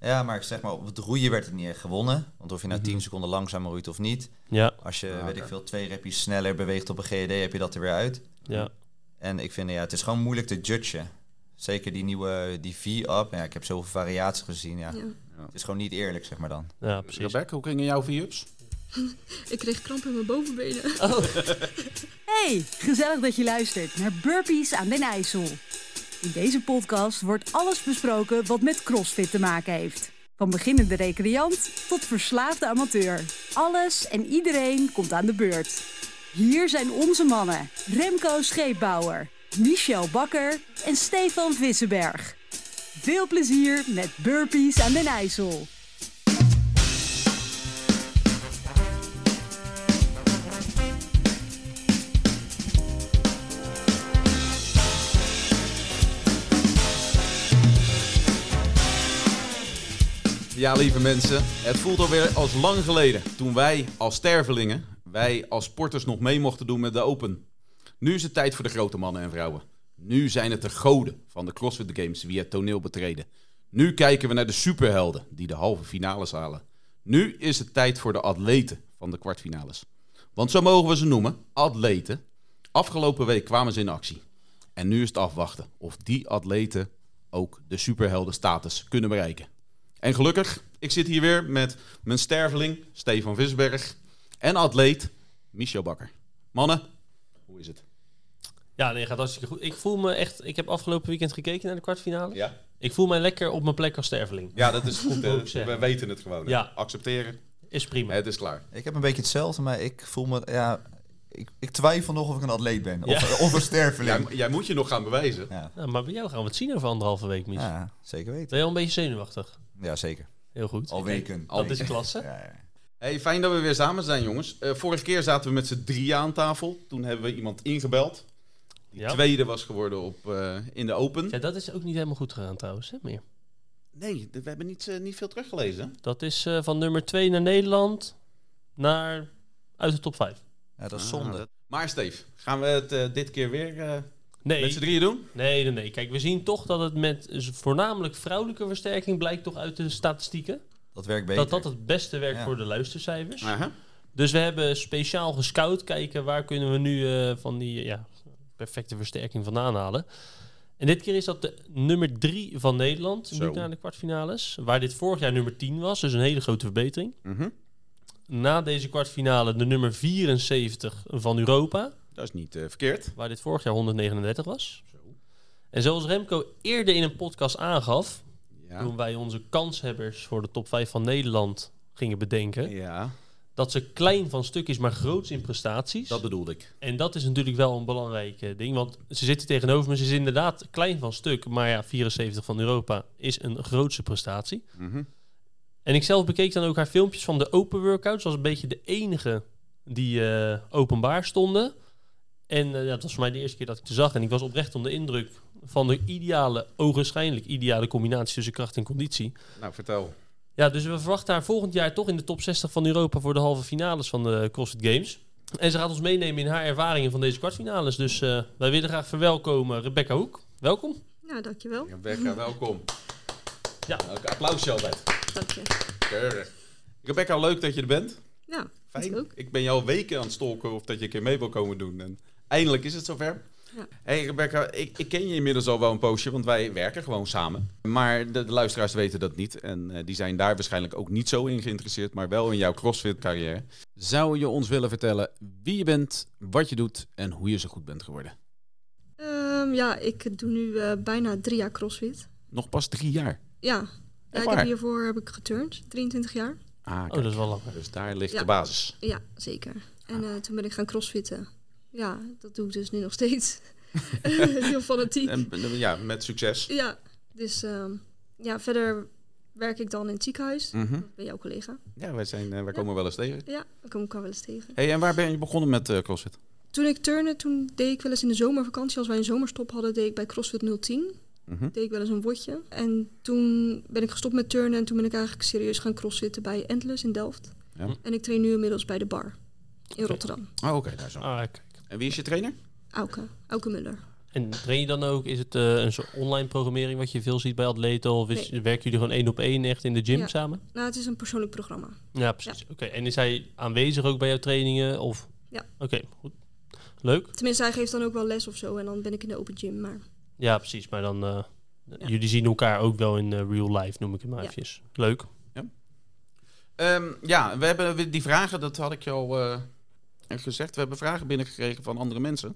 Ja, maar ik zeg maar, op het roeien werd het niet echt gewonnen. Want of je nou 10 seconden langzamer roeit of niet. Ja, Als je, Ah, weet oké. ik veel, twee repjes sneller beweegt op een GED, heb je dat er weer uit. ja. En ik vind, ja, het is gewoon moeilijk te judgen. Zeker die nieuwe, die V-up. Ja, ik heb zoveel variaties gezien, ja. Ja. Het is gewoon niet eerlijk, zeg maar dan. ja precies. Rebecca, hoe gingen jouw views? Ik kreeg kramp in mijn bovenbenen. Hey, gezellig dat je luistert naar Burpees aan den IJssel. In deze podcast wordt alles besproken wat met CrossFit te maken heeft. Van beginnende recreant tot verslaafde amateur. Alles en iedereen komt aan de beurt. Hier zijn onze mannen Remco Scheepbouwer, Michel Bakker en Stefan Vissenberg. Veel plezier met Burpees aan den IJssel. Ja, lieve mensen, het voelt alweer als lang geleden toen wij als stervelingen, wij als sporters nog mee mochten doen met de Open. Nu is het tijd voor de grote mannen en vrouwen. Nu zijn het de goden van de CrossFit Games wie het toneel betreden. Nu kijken we naar de superhelden die de halve finales halen. Nu is het tijd voor de atleten van de kwartfinales. Want zo mogen we ze noemen, atleten. Afgelopen week kwamen ze in actie. En nu is het afwachten of die atleten ook de superheldenstatus kunnen bereiken. En gelukkig, ik zit hier weer met mijn sterveling Stefan Visberg en atleet Michel Bakker. Mannen, hoe is het? Ja, nee, gaat hartstikke goed. Ik voel me echt... Ik heb afgelopen weekend gekeken naar de kwartfinale. Ja, Ik voel mij lekker op mijn plek als sterveling. ja dat is goed. hè. ik zeggen. We weten het gewoon. hè. Ja. Accepteren, Is prima. het is klaar. Ik heb een beetje hetzelfde, maar ik voel me, ja... Ik, ik twijfel nog of ik een atleet ben. Of, Ja. of een Jij, sterveling. jij moet je nog gaan bewijzen. Ja. Nou, maar bij jou gaan we het zien over anderhalve week, Mies. ja, zeker weten. Ben je al een beetje zenuwachtig? Ja, zeker. Heel goed. Al weken. Dat is klasse. Ja, ja. Hey, fijn dat we weer samen zijn, jongens. Eh, vorige keer zaten we met z'n drieën aan tafel. Toen hebben we iemand ingebeld. Die Ja. tweede was geworden op, eh, in de Open. Ja, dat is ook niet helemaal goed gegaan trouwens, hè, meer. Nee, d- we hebben niet, eh, niet veel teruggelezen. hè? Dat is eh, van nummer 2 naar Nederland naar uit de top 5. Ja, dat is Ah, zonde. dat- Maar Steef, gaan we het eh, dit keer weer eh, met Nee, z'n drieën doen? nee, nee, nee. Kijk, we zien toch dat het met z- voornamelijk vrouwelijke versterking blijkt toch uit de statistieken. Dat werkt beter. Dat dat het beste werkt Ja. voor de luistercijfers. Aha. Dus we hebben speciaal gescout kijken waar kunnen we nu eh, van die eh, ja, perfecte versterking vandaan halen. En dit keer is dat de nummer 3 van Nederland, Zo. nu naar de kwartfinales. Waar dit vorig jaar nummer 10 was, dus een hele grote verbetering. Mhm. Na deze kwartfinale de nummer 74 van Europa, Dat is niet eh, verkeerd. waar dit vorig jaar 139 was. En zoals Remco eerder in een podcast aangaf, Ja. toen wij onze kanshebbers voor de top 5 van Nederland gingen bedenken, ja, dat ze klein van stuk is, maar groots in prestaties. dat bedoelde ik. En dat is natuurlijk wel een belangrijk eh, ding. Want ze zitten tegenover me. Ze is inderdaad klein van stuk. Maar ja, 74 van Europa is een grootste prestatie. Mhm. En ik zelf bekeek dan ook haar filmpjes van de open workouts. was een beetje de enige die eh, openbaar stonden. En eh, ja, dat was voor mij de eerste keer dat ik ze zag. En ik was oprecht onder de indruk van de ideale, ogenschijnlijk ideale combinatie tussen kracht en conditie. Nou, vertel. Ja, dus we verwachten haar volgend jaar toch in de top 60 van Europa voor de halve finales van de CrossFit Games. En ze gaat ons meenemen in haar ervaringen van deze kwartfinales. Dus eh, wij willen graag verwelkomen Rebecca Hoek. Welkom. Nou, dankjewel. Rebecca, welkom. Ja. Nou, een Hmm. applausje altijd. Dank je. Keurig. Rebecca, leuk dat je er bent. Nou, Fijn. Dat ook. Ik ben jou al weken aan het stalken of dat je een keer mee wil komen doen. En eindelijk is het zover. Ja. Hey Rebecca, ik, ik ken je inmiddels al wel een poosje, want wij werken gewoon samen. Maar de, de luisteraars weten dat niet. En eh, die zijn daar waarschijnlijk ook niet zo in geïnteresseerd, maar wel in jouw CrossFit-carrière. Zou je ons willen vertellen wie je bent, wat je doet en hoe je zo goed bent geworden? ehm, ja, ik doe nu eh, bijna drie jaar crossfit. Nog pas drie jaar. Ja, ja ik waar? heb hiervoor heb ik geturnd, 23 jaar. Ah, Oh, dat is wel lang. Dus daar ligt Ja. de basis. Ja, zeker. En eh, toen ben ik gaan crossfitten. Ja, dat doe ik dus nu nog steeds. Heel fanatiek. En eh, ja, met succes. Ja, dus ehm, ja, verder werk ik dan in het ziekenhuis. Mhm. Bij jouw collega. Ja, wij, zijn, eh, wij komen wel eens tegen. Ja, daar kom ik elkaar wel eens tegen. Hey, en waar ben je begonnen met eh, CrossFit? Toen ik turnen, toen deed ik wel eens in de zomervakantie. Als wij een zomerstop hadden, deed ik bij CrossFit 010. Mhm. deed ik wel eens een wotje. En toen ben ik gestopt met turnen en toen ben ik eigenlijk serieus gaan crossfitten bij Endless in Delft. Ja. En ik train nu inmiddels bij de bar in Oké. Rotterdam. Oh, oké, daar zo. Ah, kijk. En wie is je trainer? Auke, Auke Muller. En train je dan ook? Is het eh, een soort online programmering wat je veel ziet bij atleten? Of is, werken jullie gewoon één op één echt in de gym Ja. samen? Nou, het is een persoonlijk programma. Ja, precies. Oké, en is hij aanwezig ook bij jouw trainingen? Of? Ja. Oké, goed. Leuk. Tenminste, hij geeft dan ook wel les of zo. En dan ben ik in de open gym. Maar Ja, precies. Maar dan, eh, jullie zien elkaar ook wel in eh, real life, noem ik het maar Ja. eventjes. Leuk. Ehm, ja, we hebben weer die vragen, dat had ik je al eh, gezegd. We hebben vragen binnengekregen van andere mensen,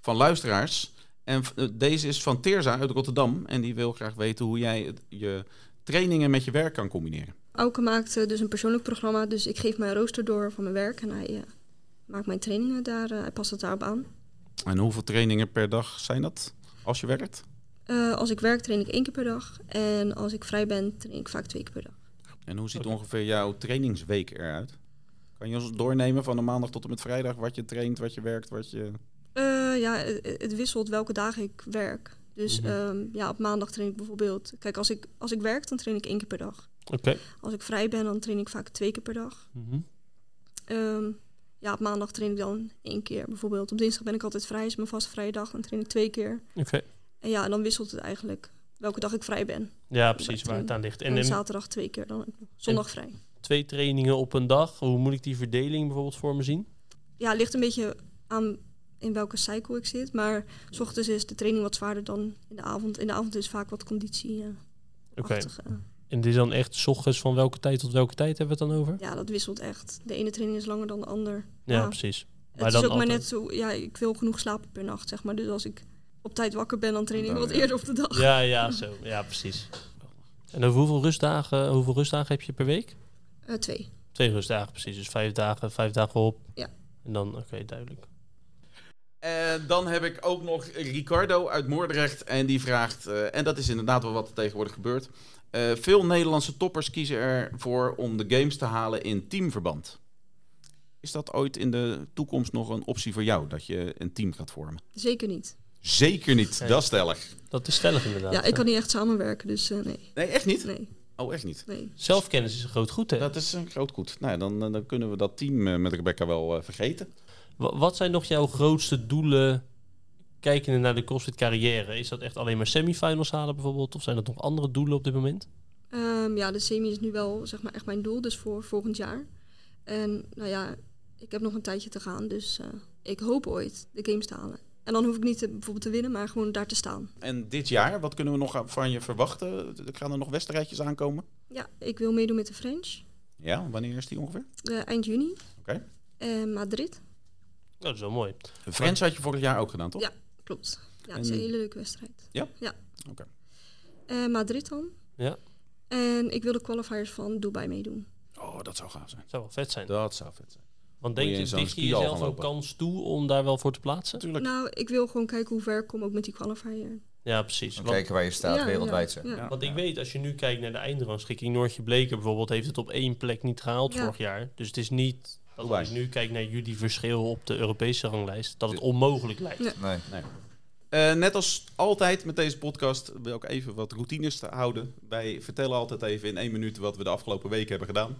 van luisteraars. En v- eh, deze is van Teerza uit Rotterdam. En die wil graag weten hoe jij het- je trainingen met je werk kan combineren. Auke maakt eh, dus een persoonlijk programma. Dus ik geef mijn rooster door van mijn werk. En hij eh, maakt mijn trainingen daar. eh, hij past het daarop aan. En hoeveel trainingen per dag zijn dat als je werkt? Eh, als ik werk, train ik één keer per dag. En als ik vrij ben, train ik vaak twee keer per dag. En hoe ziet ongeveer jouw trainingsweek eruit? Kan je ons doornemen van de maandag tot en met vrijdag wat je traint, wat je werkt, wat je... Eh, ja, eh, eh, het wisselt welke dagen ik werk. Dus Mhm. ehm, ja, op maandag train ik bijvoorbeeld. Kijk, als ik, als ik werk, dan train ik één keer per dag. Oké. Als ik vrij ben, dan train ik vaak twee keer per dag. Mhm. Ehm, ja, op maandag train ik dan één keer bijvoorbeeld. Op dinsdag ben ik altijd vrij, is mijn vaste vrije dag. Dan train ik twee keer. Oké. En ja, en dan wisselt het eigenlijk welke dag ik vrij ben. Ja, precies waar het aan ligt. En, En, en zaterdag twee keer, dan ook nog. zondag vrij. twee trainingen op een dag. Hoe moet ik die verdeling bijvoorbeeld voor me zien? Ja, het ligt een beetje aan in welke cycle ik zit. Maar s ochtends is de training wat zwaarder dan in de avond. In de avond is vaak wat conditie. eh, Oké. achtig, eh. En dit is dan echt 's ochtends van welke tijd tot welke tijd hebben we het dan over? Ja, dat wisselt echt. De ene training is langer dan de ander. Ja, Ja. precies. het is dan ook maar altijd- net zo. Ja, ik wil genoeg slapen per nacht, zeg maar. Dus als ik op tijd wakker ben, dan train ik Dan, wat ja. eerder op de dag. Ja, ja, zo. Ja, precies. En over hoeveel rustdagen, hoeveel rustdagen heb je per week? Eh, twee. Twee rustdagen, precies. Dus vijf dagen, vijf dagen op. Ja. En dan, oké, duidelijk. Eh, dan heb ik ook nog Ricardo uit Moordrecht. En die vraagt, eh, en dat is inderdaad wel wat er tegenwoordig gebeurt. Eh, veel Nederlandse toppers kiezen ervoor om de games te halen in teamverband. Is dat ooit in de toekomst nog een optie voor jou, dat je een team gaat vormen? Zeker niet. Zeker niet, Nee. dat stellig. Dat is stellig inderdaad. Ja, ik kan niet echt samenwerken, dus eh, nee. Nee, echt niet? Nee, Oh, echt niet. nee. Zelfkennis is een groot goed, hè? Dat is een groot goed. Nou, ja, dan, eh, dan kunnen we dat team eh, met Rebecca wel eh, vergeten. Wa- Wat zijn nog jouw grootste doelen kijkende naar de CrossFit carrière? Is dat echt alleen maar semifinals halen bijvoorbeeld? Of zijn dat nog andere doelen op dit moment? Ehm, ja, de semi is nu wel zeg maar, echt mijn doel, dus voor volgend jaar. En nou ja, ik heb nog een tijdje te gaan, dus eh, ik hoop ooit de games te halen. En dan hoef ik niet te, bijvoorbeeld te winnen, maar gewoon daar te staan. En dit jaar, wat kunnen we nog van je verwachten? Gaan er nog wedstrijdjes aankomen? Ja, ik wil meedoen met de French Ja, wanneer is die ongeveer? eh, eind juni. Oké. En Madrid, Oh, Nou, dat is wel mooi. Friends had je vorig jaar ook gedaan, toch? Ja. klopt. Ja, het is een En- hele leuke wedstrijd. Ja? Ja. Oké. Eh, Madrid dan. Ja. En ik wil de qualifiers van Dubai meedoen. Oh, dat zou gaaf zijn. zou wel vet zijn. Dat zou vet zijn. Want Moet denk je je, in zo'n dicht je ski al jezelf gaan ook lopen? kans toe om daar wel voor te plaatsen? Natuurlijk. Nou, ik wil gewoon kijken hoe ver ik kom, ook met die qualifier. Ja, precies. Dan Want, kijken waar je staat Ja, wereldwijd. ja, zeg. ja. want ik weet, als je nu kijkt naar de eindrangschikking, Noortje Bleker bijvoorbeeld heeft het op één plek niet gehaald Ja. vorig jaar. Dus het is niet, als Dubai. ik nu kijk naar jullie verschil op de Europese ranglijst, dat het onmogelijk lijkt. Ja. Nee. Eh, net als altijd met deze podcast wil ik even wat routines te houden. Wij vertellen altijd even in één minuut wat we de afgelopen week hebben gedaan.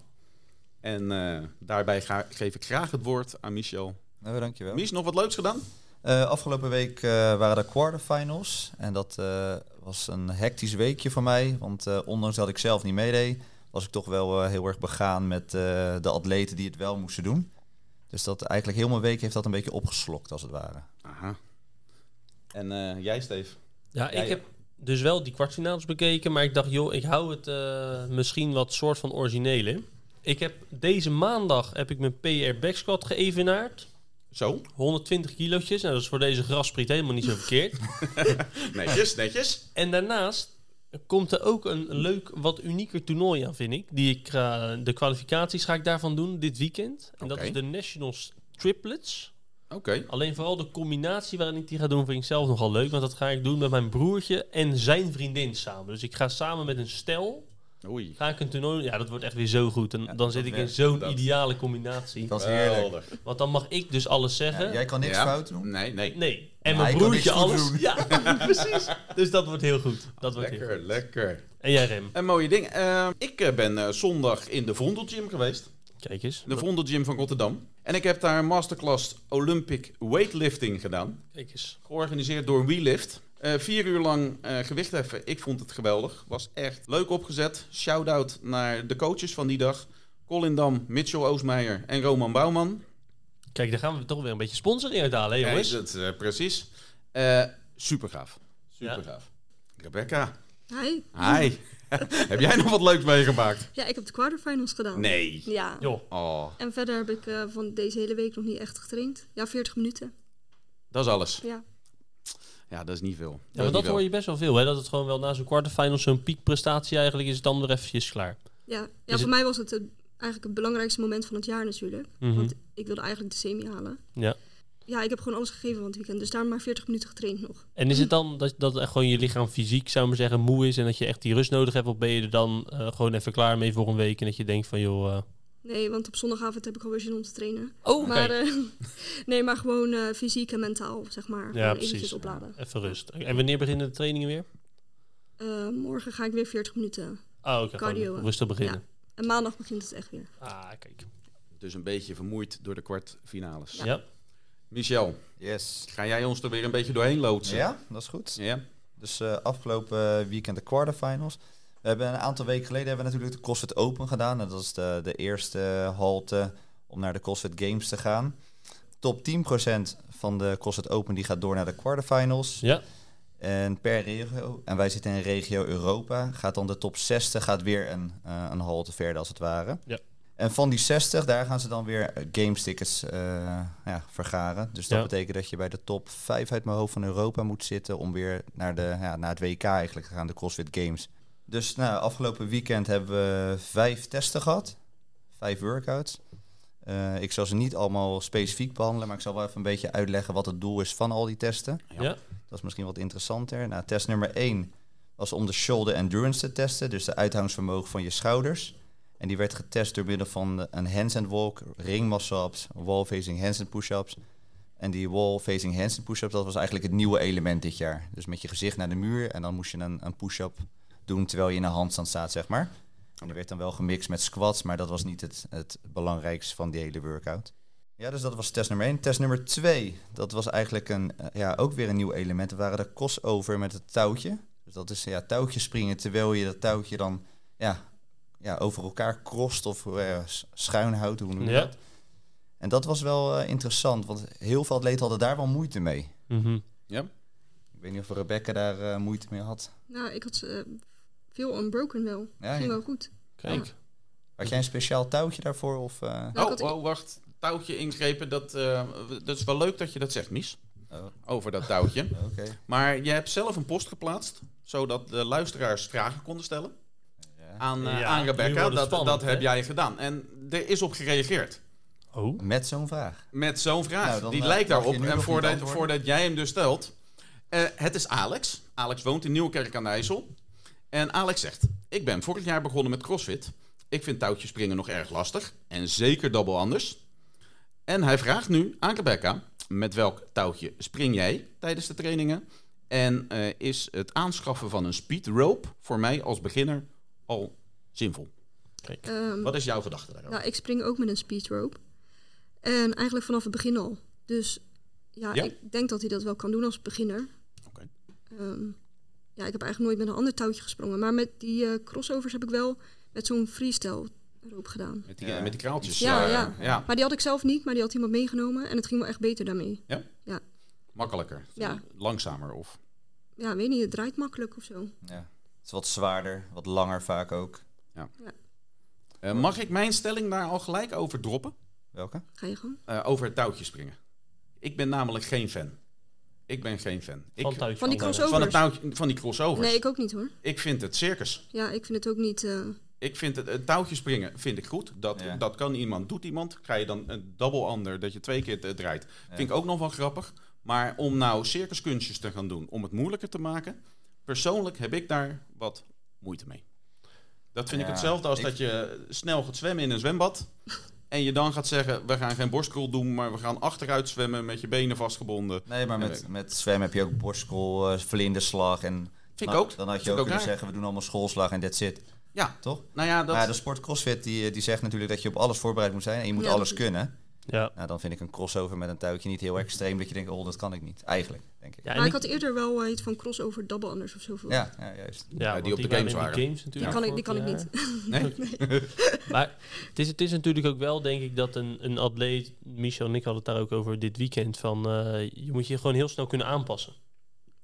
En eh, daarbij ga- geef ik graag het woord aan Michel. Nou, dankjewel. Mies, nog wat leuks gedaan? Eh, afgelopen week eh, waren de quarterfinals. En dat eh, was een hectisch weekje voor mij. Want eh, ondanks dat ik zelf niet meedeed, was ik toch wel eh, heel erg begaan met eh, de atleten die het wel moesten doen. Dus dat eigenlijk heel mijn week heeft dat een beetje opgeslokt, als het ware. Aha. En eh, jij, Steef? Ja, Ja, ik ja. heb dus wel die kwartfinales bekeken, maar ik dacht, joh, ik hou het eh, misschien wat soort van origineel in. Ik heb deze maandag heb ik mijn PR back squat geëvenaard. Zo? 120 kilootjes. Nou, dat is voor deze graspriet helemaal niet zo verkeerd. Netjes, netjes. en daarnaast komt er ook een leuk, wat unieker toernooi aan, vind ik. Die ik eh, de kwalificaties ga ik daarvan doen dit weekend. En dat Oké. is de Nationals Triplets. Oké. Alleen vooral de combinatie waarin ik die ga doen vind ik zelf nogal leuk. Want dat ga ik doen met mijn broertje en zijn vriendin samen. Dus ik ga samen met een stel, Oei. ga ik een toernooi... Ja, dat wordt echt weer zo goed. En dan dat zit ik in werkt, zo'n dat. ideale combinatie. Dat was heerlijk. Geweldig. Want dan mag ik dus alles zeggen. Ja, jij kan niks Ja. fout doen. Nee, nee. Nee. En Ja, mijn ik kan broertje niks goed alles. doen. Ja, precies. Dus dat wordt heel goed. Dat wordt heel Lekker, goed. lekker. En jij Rem, Een mooie ding. Ehm, Eh, ik eh, ben eh, zondag in de Vondelgym geweest. kijk eens. De Vondelgym van Rotterdam. En ik heb daar een masterclass Olympic Weightlifting gedaan. Kijk eens. Georganiseerd door WeLift. Eh vier uur lang eh gewicht heffen. Ik vond het geweldig. Was echt leuk opgezet. Shout-out naar de coaches van die dag. Colin Dam, Mitchell Oosmeijer en Roman Bouwman. Kijk, daar gaan we toch weer een beetje sponsoring uithalen, hè, jongens. Ja, dat, eh, precies. Eh super gaaf. Super gaaf. Rebecca, Hi. hi. heb jij nog wat leuks meegemaakt? Ja, ik heb de quarterfinals gedaan. Nee. Ja. Joh, Oh, En verder heb ik eh, van deze hele week nog niet echt getraind. Ja, 40 minuten. dat is alles. Ja. Ja, dat is niet veel. ja, maar is niet dat veel. hoor je best wel veel, hè? Dat het gewoon wel na zo'n quarterfinal, zo'n piekprestatie eigenlijk, is het dan weer eventjes klaar. Ja, ja het- voor mij was het eh, eigenlijk het belangrijkste moment van het jaar natuurlijk. Mhm. Want ik wilde eigenlijk de semi halen. Ja. Ja, ik heb gewoon alles gegeven van het weekend. Dus daar maar 40 minuten getraind nog. En is het dan dat, dat echt gewoon je lichaam fysiek, zou ik maar zeggen, moe is en dat je echt die rust nodig hebt? Of ben je er dan eh, gewoon even klaar mee voor een week en dat je denkt van, joh... eh, Nee, want op zondagavond heb ik alweer zin om te trainen. oh, oké. Maar, eh, nee, maar gewoon eh, fysiek en mentaal, zeg maar. ja, Gewoon precies. eventjes opladen. Even rust. En wanneer beginnen de trainingen weer? Eh, morgen ga ik weer 40 minuten. Oh, oké. gewoon Cardio, hè? rustig beginnen. En maandag begint het echt weer. Ah, kijk. Dus een beetje vermoeid door de kwartfinales. Ja. Michel, Yes. ga jij ons er weer een beetje doorheen loodsen? Ja, dat is goed. Ja. Dus eh, afgelopen weekend de quarterfinals. We hebben een aantal weken geleden hebben we natuurlijk de CrossFit Open gedaan. En dat is de, de eerste eh, halte om naar de CrossFit Games te gaan. Top 10% van de CrossFit Open die gaat door naar de quarterfinals. Ja. En per regio, en wij zitten in regio Europa, gaat dan de top 60 gaat weer een, eh, een halte verder als het ware. Ja. En van die 60, daar gaan ze dan weer eh, games tickets eh, ja, vergaren. Dus dat Ja. betekent dat je bij de top 5 uit mijn hoofd van Europa moet zitten om weer naar, de, ja, naar het WK eigenlijk te gaan, de CrossFit Games. Dus nou, afgelopen weekend hebben we vijf testen gehad, vijf workouts. Eh, ik zal ze niet allemaal specifiek behandelen, maar ik zal wel even een beetje uitleggen wat het doel is van al die testen. Ja. Dat is misschien wat interessanter. Nou, test nummer 1 was om de shoulder endurance te testen, dus de uithoudingsvermogen van je schouders. En die werd getest door middel van een handstand walk, ring muscle-ups, wall facing handstand push-ups. En die wall facing handstand push-ups, dat was eigenlijk het nieuwe element dit jaar. Dus met je gezicht naar de muur en dan moest je een, een push-up doen terwijl je in een handstand staat, zeg maar. En die werd dan wel gemixt met squats, maar dat was niet het, het belangrijkste van die hele workout. Ja, dus dat was test nummer 1. Test nummer 2, dat was eigenlijk een, eh, ja, ook weer een nieuw element. Dat waren de crossover met het touwtje. Dus dat is ja, touwtje springen terwijl je dat touwtje dan ja, ja, over elkaar crost of eh, s- schuin houdt. Hoe noem je Ja. dat? En dat was wel eh, interessant, want heel veel atleten hadden daar wel moeite mee. Mhm. ja. Ik weet niet of Rebecca daar eh, moeite mee had. Nou, ik had eh, veel unbroken wel. Ja, Ging ja. wel goed. Kijk. Had jij een speciaal touwtje daarvoor? Of, eh, Nou, ik Oh, had- oh, wacht. Touwtje ingrepen, dat, eh, dat is wel leuk dat je dat zegt, Mies. Oh. Over dat touwtje. Oké. Maar je hebt zelf een post geplaatst, zodat de luisteraars vragen konden stellen aan, eh, Ja, aan nu wordt Rebecca. het Dat, spannend, dat heb hè? jij gedaan. En er is op gereageerd. Oh. Met zo'n vraag. Met zo'n vraag. Nou, dan, die eh, lijkt mag je daarop. nu nog En niet voordat, antwoorden. voordat jij hem dus stelt. eh, het is Alex. Alex woont in Nieuwkerk aan de IJssel. En Alex zegt: Ik ben vorig jaar begonnen met CrossFit. Ik vind touwtjes springen nog erg lastig. En zeker dubbel anders. En hij vraagt nu aan Rebecca: Met welk touwtje spring jij tijdens de trainingen? En eh, is het aanschaffen van een speed rope voor mij als beginner al zinvol? Kijk. Ehm, Wat is jouw gedachte daarover? Nou, ik spring ook met een speed rope. En eigenlijk vanaf het begin al. Dus ja, Ja? ik denk dat hij dat wel kan doen als beginner. Oké. Ehm, ja, ik heb eigenlijk nooit met een ander touwtje gesprongen. Maar met die eh, crossovers heb ik wel met zo'n freestyle rope gedaan. Met die, Ja. met die kraaltjes. Ja, eh, ja. ja, Maar die had ik zelf niet, maar die had iemand meegenomen. En het ging wel echt beter daarmee. makkelijker. Ja. Langzamer of. Ja, weet niet, het draait makkelijk of zo. Ja. Het is wat zwaarder, wat langer vaak ook. Eh, mag ik mijn stelling daar al gelijk over droppen? Welke? Ga je gang. Eh, over het touwtje springen. Ik ben namelijk geen fan. Ik ben geen fan. Ik, Van touwtje Van afleggen. die crossover. van, het touwtje, van die crossovers. Nee, ik ook niet hoor. Ik vind het circus. Ja, ik vind het ook niet... eh, Ik vind het, het touwtje springen vind ik goed. Dat, Ja. dat kan iemand, doet iemand. Ga je dan een double under, dat je twee keer eh, draait. Vind ik ook nog wel grappig. Maar om nou circuskunstjes te gaan doen, om het moeilijker te maken. Persoonlijk heb ik daar wat moeite mee. Dat vind ik Ja, hetzelfde als ik- dat je snel gaat zwemmen in een zwembad. En je dan gaat zeggen, we gaan geen borstkrol doen, maar we gaan achteruit zwemmen met je benen vastgebonden. Eh, Nee, maar Ja, met, ik- met zwemmen heb je ook borstkrol, eh, vlinderslag. En Vind nou, ik ook. Dan had Vind je ook ik ook kunnen raar. zeggen, we doen allemaal schoolslag en that's it. Ja, Toch? nou ja, dat, eh, Maar ja, de sport CrossFit die, die zegt natuurlijk dat je op alles voorbereid moet zijn en je moet Ja, alles dat- kunnen. Ja. Nou, dan vind ik een crossover met een touwtje niet heel extreem. Dat je denkt, oh, dat kan ik niet. Eigenlijk, denk ik. Ja, en Maar ik ik- had eerder wel eh, iets van crossover double anders of zo. voor. Ja, ja juist. ja, die want op de waren games in waren. die games Die natuurlijk. kan ik, die kan ik vorig niet. jaar. Maar het is, het is natuurlijk ook wel, denk ik, dat een, een atleet... Michel en ik hadden het daar ook over dit weekend. Van, eh, je moet je gewoon heel snel kunnen aanpassen.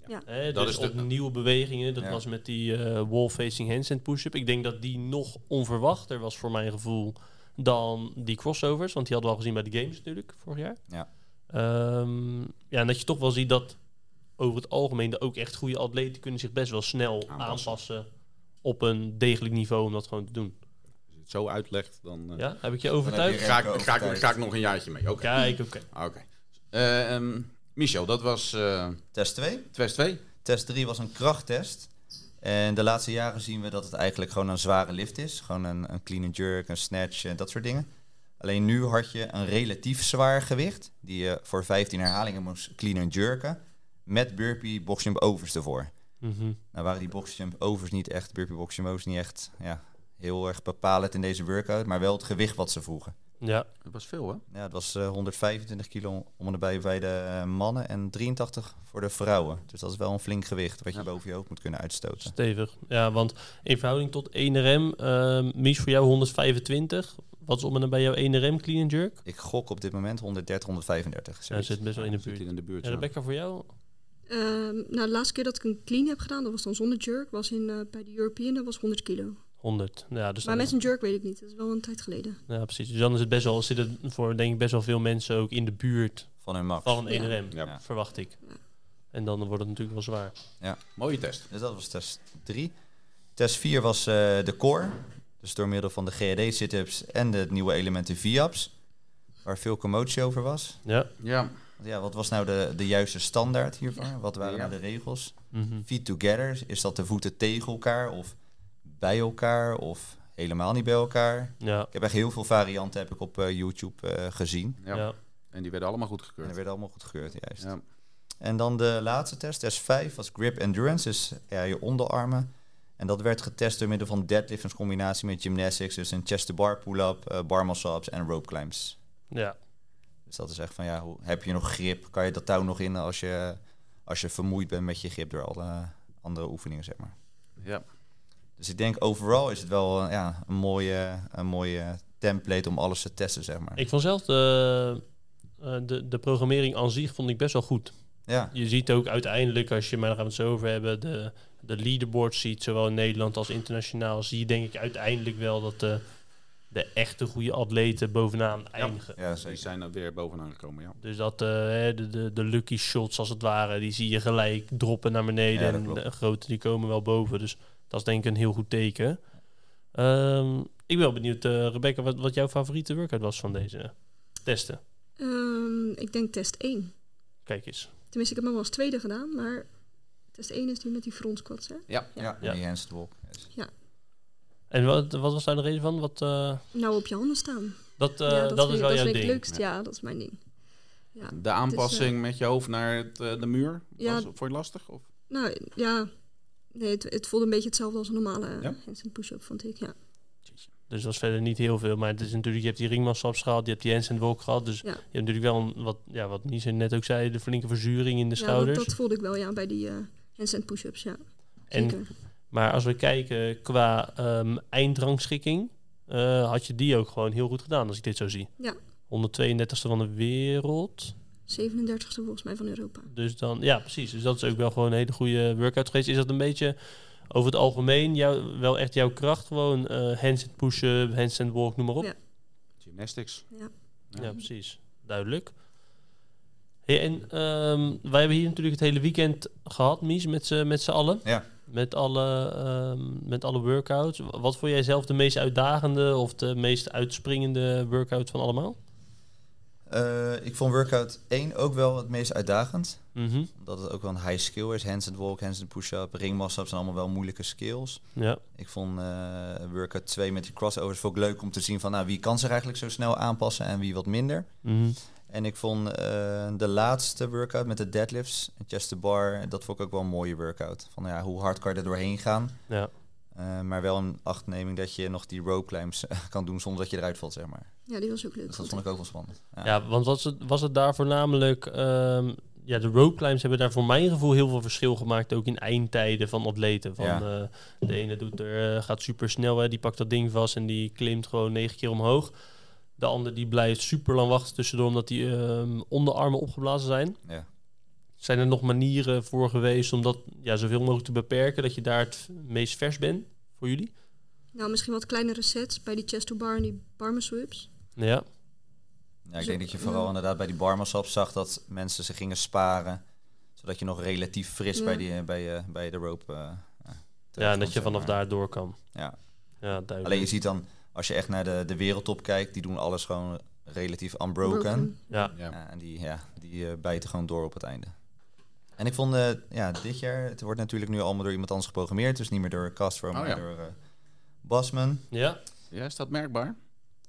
Ja. Hè, Dat dus is de- op nieuwe bewegingen. Dat Ja. was met die eh, wall-facing handstand push-up. Ik denk dat die nog onverwachter was voor mijn gevoel dan die crossovers. Want die hadden we al gezien bij de games natuurlijk, vorig jaar. Ja. Ehm, ja, en dat je toch wel ziet dat over het algemeen... de ook echt goede atleten kunnen zich best wel snel aanpassen. Aanpassen. op een degelijk niveau om dat gewoon te doen. Als je het zo uitlegt, dan eh, Ja, heb ik je heb overtuigd? je ga, ik, ga, ik, ga ik nog een jaartje mee. Oké. Kijk, oké. Ah, Oké. Eh, ehm, Michel, dat was eh Test 2. Twest 2. Test 3 was een krachttest. En de laatste jaren zien we dat het eigenlijk gewoon een zware lift is. Gewoon een, een clean and jerk, een snatch en dat soort dingen. Alleen nu had je een relatief zwaar gewicht. Die je voor 15 herhalingen moest clean and jerken. Met burpee boxjump overs ervoor. Mhm. Nou waren die boxjump overs niet echt, burpee boxjump overs niet echt ja, heel erg bepalend in deze workout. Maar wel het gewicht wat ze vroegen. Ja, Dat was veel, hè? Ja, het was eh, 125 kilo om en bij bij de eh, mannen en 83 voor de vrouwen. Dus dat is wel een flink gewicht wat je Ja. boven je hoofd moet kunnen uitstoten. stevig. Ja, want in verhouding tot 1RM, ehm Mies voor jou 125. Wat is om en nabij jouw 1RM clean and jerk? Ik gok op dit moment 130, 135. Ja, zoiets. zit best wel in de Zit buurt. hier in de buurt. Ja, ja. Rebecca, voor jou? Ehm, nou, de laatste keer dat ik een clean heb gedaan, dat was dan zonder jerk, was in, eh, bij de European, dat was 100 kilo. 100. Ja, dus Maar dan- met een jerk weet ik niet, dat is wel een tijd geleden. ja, precies. Dus dan is het best wel, zit het voor denk ik best wel veel mensen ook in de buurt Van hun max. van Ja. een 1RM, Ja. Ja. verwacht ik. Ja. En dan wordt het natuurlijk wel zwaar. Mooie test. Dus dat was test 3. Test 4 was eh, de core. Dus door middel van de GED sit-ups en de nieuwe elementen VIAPs. Waar veel commotie over was. Ja. Ja. Want Ja, wat was nou de, de juiste standaard hiervoor? Wat waren Ja. nou de regels? Mhm. Feet together, is dat de voeten tegen elkaar of bij elkaar of helemaal niet bij elkaar? Ja. Ik heb echt heel veel varianten heb ik op eh, YouTube eh, gezien. Ja. Ja. En die werden allemaal En er goedgekeurd. werden allemaal goedgekeurd, juist. Ja. En dan de laatste test, test 5, was grip endurance, dus ja, je onderarmen. En dat werd getest door middel van deadlifts in combinatie met gymnastics, dus een chest-to-bar pull-up, eh bar muscle-ups en rope climbs. ja. Dus dat is echt van, ja, hoe, heb je nog grip? Kan je dat touw nog in als je, als je vermoeid bent met je grip door alle andere oefeningen, zeg maar. Ja. Dus ik denk, overal is het wel eh, ja, een, mooie, een mooie template om alles te testen, zeg maar. Ik vond zelf de, eh, de, de programmering aan zich vond ik best wel goed. Ja, Je ziet ook uiteindelijk, als je, maar daar gaan we het zo over hebben, de, de leaderboard ziet, zowel in Nederland als internationaal, zie je denk ik uiteindelijk wel dat de, de echte goede atleten bovenaan eindigen. ja Die zeker. zijn er weer bovenaan gekomen, ja. Dus dat eh, hè, de, de, de lucky shots als het ware, die zie je gelijk droppen naar beneden. Ja, dat en klopt. de grote die komen wel boven. Dus dat is denk ik een heel goed teken. Ehm, ik ben wel benieuwd, eh, Rebecca, wat, wat jouw favoriete workout was van deze testen. Ehm, ik denk test 1. Kijk eens. Tenminste, ik heb hem wel als tweede gedaan, maar test 1 is die met die front squats, hè? Ja, Ja. die handstand walk. Yes. En wat, wat was daar de reden van? Wat, eh, Nou, op je handen staan. dat, eh, dat, ja, vind is ik- wel dat jouw vind ik ding. het leukst, ja. dat is mijn ding. Ja, De aanpassing met je hoofd naar het, eh, de muur, Ja. was, vond je het lastig? Of? nou ja, nee, het, het voelde een beetje hetzelfde als een normale Ja? handstand push-up, vond ik, ja. Dus dat is verder niet heel veel. Maar het is natuurlijk, je hebt die ringmassaps gehad, je hebt die handstand walk gehad. Dus Ja. je hebt natuurlijk wel, een, wat, ja, wat Mies net ook zei, de flinke verzuring in de ja, dat, schouders. dat voelde ik wel, ja, bij die eh handstand push-ups, ja. en, Zeker. maar als we kijken qua ehm, eindrangschikking, eh, had je die ook gewoon heel goed gedaan, als ik dit zo zie. Ja. 132e van de wereld. 37ste volgens mij van Europa. Dus dan, ja, precies. Dus dat is ook wel gewoon een hele goede workout geweest. Is dat een beetje over het algemeen jou, wel echt jouw kracht? Gewoon eh handstand push-up, handstand walk, noem maar op. Ja. Gymnastics. Ja. Ja, precies. Duidelijk. Hey, en ehm, wij hebben hier natuurlijk het hele weekend gehad, Mies, met z'n met z'n allen. Ja. Met alle, ehm, met alle workouts. Wa- Wat vond jij zelf de meest uitdagende of de meest uitspringende workout van allemaal? Eh, ik vond workout 1 ook wel het meest uitdagend. Mhm. Omdat het ook wel een high skill is. Hands and walk, hands and push-up, ringmassap zijn allemaal wel moeilijke skills. Ja, Ik vond eh, workout 2 met die crossovers vond ik leuk om te zien van nou, wie kan zich eigenlijk zo snel aanpassen en wie wat minder. Mhm. En ik vond eh, de laatste workout met de deadlifts en chest to bar, dat vond ik ook wel een mooie workout. Van ja, hoe hard kan je er doorheen gaan? ja. Eh, maar wel een achtneming dat je nog die rope climbs eh, kan doen zonder dat je eruit valt, zeg maar. Ja, die was ook leuk. Dus dat vond vond ik. ik ook wel spannend. Ja. Ja, want was het, was het daar voornamelijk... ehm, ja, de rope climbs hebben daar voor mijn gevoel heel veel verschil gemaakt. Ook in eindtijden van atleten. Van, Ja. eh, de ene doet er, eh, gaat super snel, hè, die pakt dat ding vast en die klimt gewoon negen keer omhoog. De ander die blijft super lang wachten tussendoor omdat die ehm, onderarmen opgeblazen zijn. Ja. Zijn er nog manieren voor geweest om dat ja, zoveel mogelijk te beperken? Dat je daar het meest vers bent voor jullie? Nou, misschien wat kleinere sets bij die chest to bar en die barman sweeps. Ja, Ja, ik Zo- denk dat je vooral ja. inderdaad bij die barmassap zag dat mensen ze gingen sparen. Zodat je nog relatief fris Ja. bij, die, bij, eh, bij de rope eh, ja, ja en terechtkomt, dat je zeg vanaf maar. daar door kan. Ja. Ja, duidelijk. Alleen je ziet dan, als je echt naar de, de wereldtop kijkt, die doen alles gewoon relatief unbroken. Broken. ja. Ja. Ja, en die, ja, die eh, bijten gewoon door op het einde. En ik vond, eh, ja, dit jaar, het wordt natuurlijk nu allemaal door iemand anders geprogrammeerd. Dus niet meer door Castro, maar Oh, ja. door eh, Basman. ja. Ja, is dat merkbaar?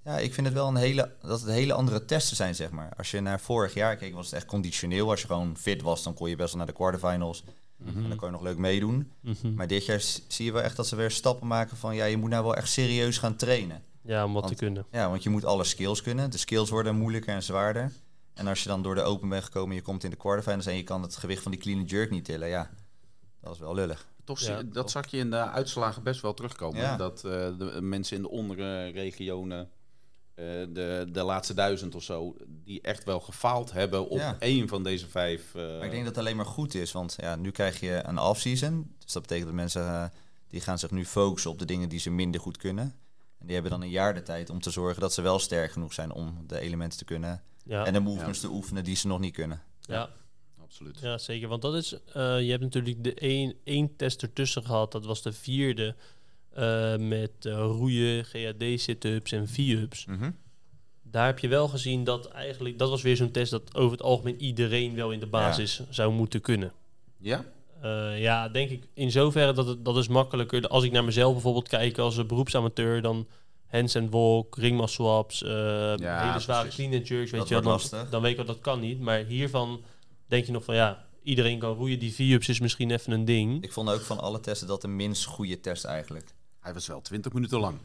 Ja, ik vind het wel een hele, dat het hele andere testen zijn, zeg maar. Als je naar vorig jaar keek, was het echt conditioneel. Als je gewoon fit was, dan kon je best wel naar de quarterfinals. Mhm. En dan kon je nog leuk meedoen. Mhm. Maar dit jaar s- zie je wel echt dat ze weer stappen maken van... ja, je moet nou wel echt serieus gaan trainen. Ja, om wat Want- te kunnen. Ja, want je moet alle skills kunnen. De skills worden moeilijker en zwaarder. En als je dan door de open bent gekomen en je komt in de quarterfinals... en je kan het gewicht van die clean and jerk niet tillen, ja, dat is wel lullig. Toch Ja, zie- toch. dat zag je in de uitslagen best wel terugkomen. Ja. hè? Dat eh, de mensen in de onderregionen, eh, de, de laatste duizend of zo, die echt wel gefaald hebben op Ja. één van deze vijf. eh, Maar ik denk dat het alleen maar goed is, want ja, nu krijg je een off-season. Dus dat betekent dat mensen eh, die gaan zich nu focussen op de dingen die ze minder goed kunnen. En die hebben dan een jaar de tijd om te zorgen dat ze wel sterk genoeg zijn om de elementen te kunnen. Ja, En de movements te oefenen die ze nog niet kunnen. ja, Absoluut. ja, zeker. Want dat is, eh, je hebt natuurlijk de één, één test ertussen gehad. Dat was de vierde. eh, met eh, roeien, GHD sit-ups en V-ups. Daar heb je wel gezien dat eigenlijk... Dat was weer zo'n test dat over het algemeen iedereen wel in de basis zou moeten kunnen. Ja? Eh, ja, denk ik in zoverre dat het dat is makkelijker. Als ik naar mezelf bijvoorbeeld kijk als een beroepsamateur, dan hands and walk, ringmas swaps, eh, Ja, hele zware precies. clean and jerks, weet Dat je wel, wordt dan, lastig. dan weet ik wel dat kan niet. Maar hiervan denk je nog van ja, iedereen kan roeien. Die V-ups is misschien even een ding. Ik vond ook van alle testen dat de minst goede test eigenlijk. Hij was wel 20 minuten lang.